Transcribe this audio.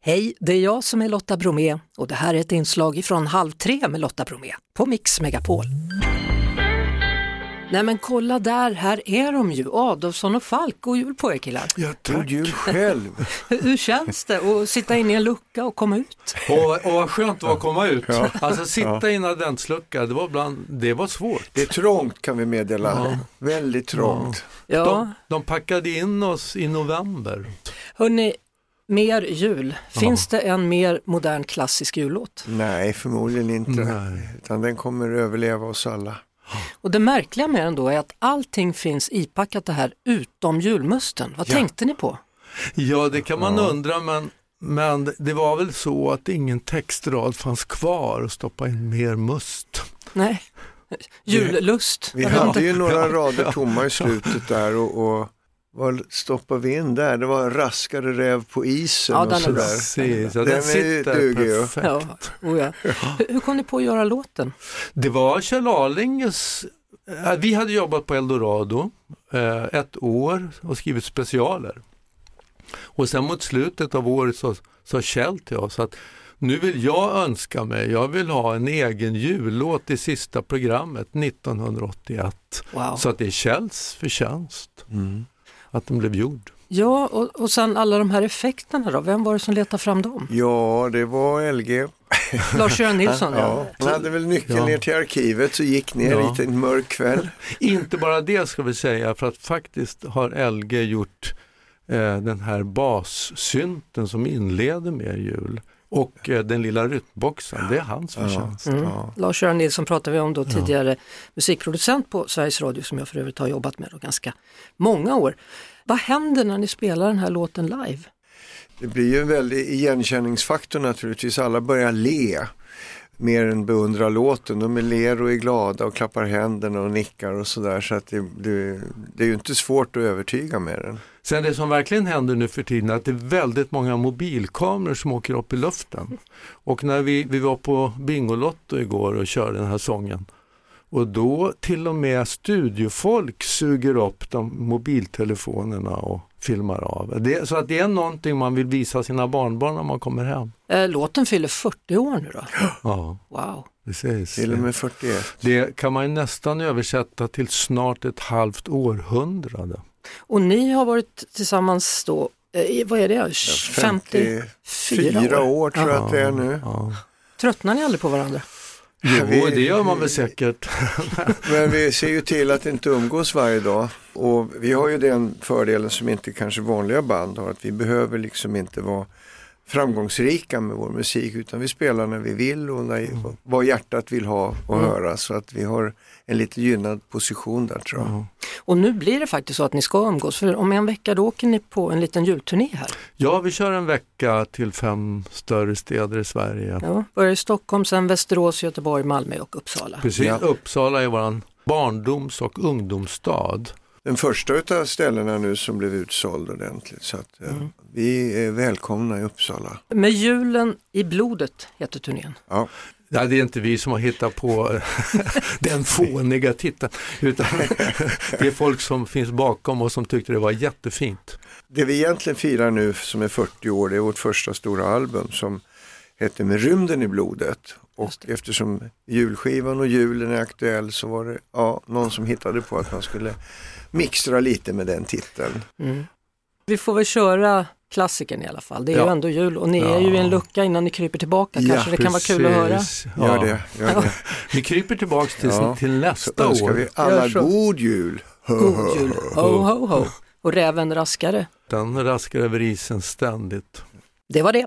Hej, det är jag som är Lotta Bromé och det här är ett inslag från Halv tre med Lotta Bromé på Mix Megapol. Nej men kolla där, här är de ju, Adolfsson och Falk. God jul på er killar! Ja, God jul själv! Hur, hur känns det att sitta inne i en lucka och komma ut? Och, och vad skönt det var att komma ut. Alltså sitta i en adventslucka, det var, bland, det var svårt. Det är trångt kan vi meddela, väldigt trångt. Ja, De, de packade in oss i november. hörni, mer jul. Finns det en mer modern klassisk jullåt? Nej, förmodligen inte. Nej. Utan den kommer överleva oss alla. Och det märkliga med den då är att allting finns ipackat det här utom julmusten. Vad tänkte ni på? Ja, det kan man undra, men, men det var väl så att ingen textrad fanns kvar att stoppa in mer must. Nej, jullust. Vi hade ju några rader tomma i slutet där och, och vad stoppade vi in där? Det var raskare räv på isen Ja, och den är sådär. Precis, ja, Den den är- sitter duger ju. perfekt. Ja, oh ja. Hur, hur kom ni på att göra låten? Det var Kjell Arlinges, eh, vi hade jobbat på Eldorado eh, ett år och skrivit specialer. Och sen mot slutet av året så sa Kjell till oss att nu vill jag önska mig, jag vill ha en egen jullåt i sista programmet 1981. Wow. Så att det är Kjells förtjänst Mm. att den blev gjord. Ja, och, och sen alla de här effekterna då, vem var det som letade fram dem? Ja, det var LG. Lars-Göran Nilsson? Ja. Han hade väl nyckeln Ja. ner till arkivet så gick ner Ja. lite en mörk kväll. Inte bara det ska vi säga, för att faktiskt har LG gjort eh, den här bassynten som inleder med jul och eh, den lilla rytmboxen, det är hans förtjänst. Mm. Ja. Lars-Göran Nilsson pratade vi om då tidigare, musikproducent på Sveriges Radio som jag för övrigt har jobbat med då ganska många år. Vad händer när ni spelar den här låten live? Det blir ju en väldig igenkänningsfaktor naturligtvis. Alla börjar le mer än beundra låten. De är ler och är glada och klappar händerna och nickar och sådär. Så att det, det, det är ju inte svårt att övertyga med den. Sen det som verkligen händer nu för tiden är att det är väldigt många mobilkameror som åker upp i luften. Och när vi, vi var på Bingolotto igår och körde den här sången och då till och med studiofolk suger upp de mobiltelefonerna och filmar av. Det, så att det är någonting man vill visa sina barnbarn när man kommer hem. Eh, låten fyller 40 år nu då. Ja, Wow. precis. Till och med 41. Det kan man ju nästan översätta till snart ett halvt århundrade. Och ni har varit tillsammans då, eh, i- vad är det, 54 Fyra år tror jag Ja. att det är nu. Ja. Tröttnar ni aldrig på varandra? Jo, Vi- det gör man väl säkert. Men vi ser ju till att inte umgås varje dag. Och vi har ju den fördelen som inte kanske vanliga band har. Att vi behöver liksom inte vara framgångsrika med vår musik. Utan vi spelar när vi vill och när, vad hjärtat vill ha och höra. Så att vi har en lite gynnad position där tror Mm. jag. Och nu blir det faktiskt så att ni ska umgås, för om en vecka då åker ni på en liten julturné här. Ja, vi kör en vecka till fem större städer i Sverige. Ja, börjar i Stockholm, sen Västerås, Göteborg, Malmö och Uppsala. Precis, Ja. Uppsala är vår barndoms och ungdomsstad. Den första utav ställena nu som blev utsåld ordentligt. Så att, eh, Vi är välkomna i Uppsala. Med julen i blodet heter turnén. Ja. Nej, det är inte vi som har hittat på den fåniga titeln, utan det är folk som finns bakom och som tyckte det var jättefint. Det vi egentligen firar nu som är 40 år, det är vårt första stora album som heter Med rymden i blodet. Och Just det. eftersom julskivan och julen är aktuell så var det ja, någon som hittade på att man skulle mixtra lite med den titeln. Mm. Vi får väl köra klassikern i alla fall. Det är Ja. ju ändå jul och ni är ju i en lucka innan ni kryper tillbaka. Ja, Kanske det kan vara kul att höra. Precis. Gör Ja. det, gör det. Vi kryper tillbaks till, Ja. till Så nästa önskar år. vi alla Gör så. god jul. God jul, ho ho ho. Och räven raskare. Den raskar över isen ständigt. Det var det.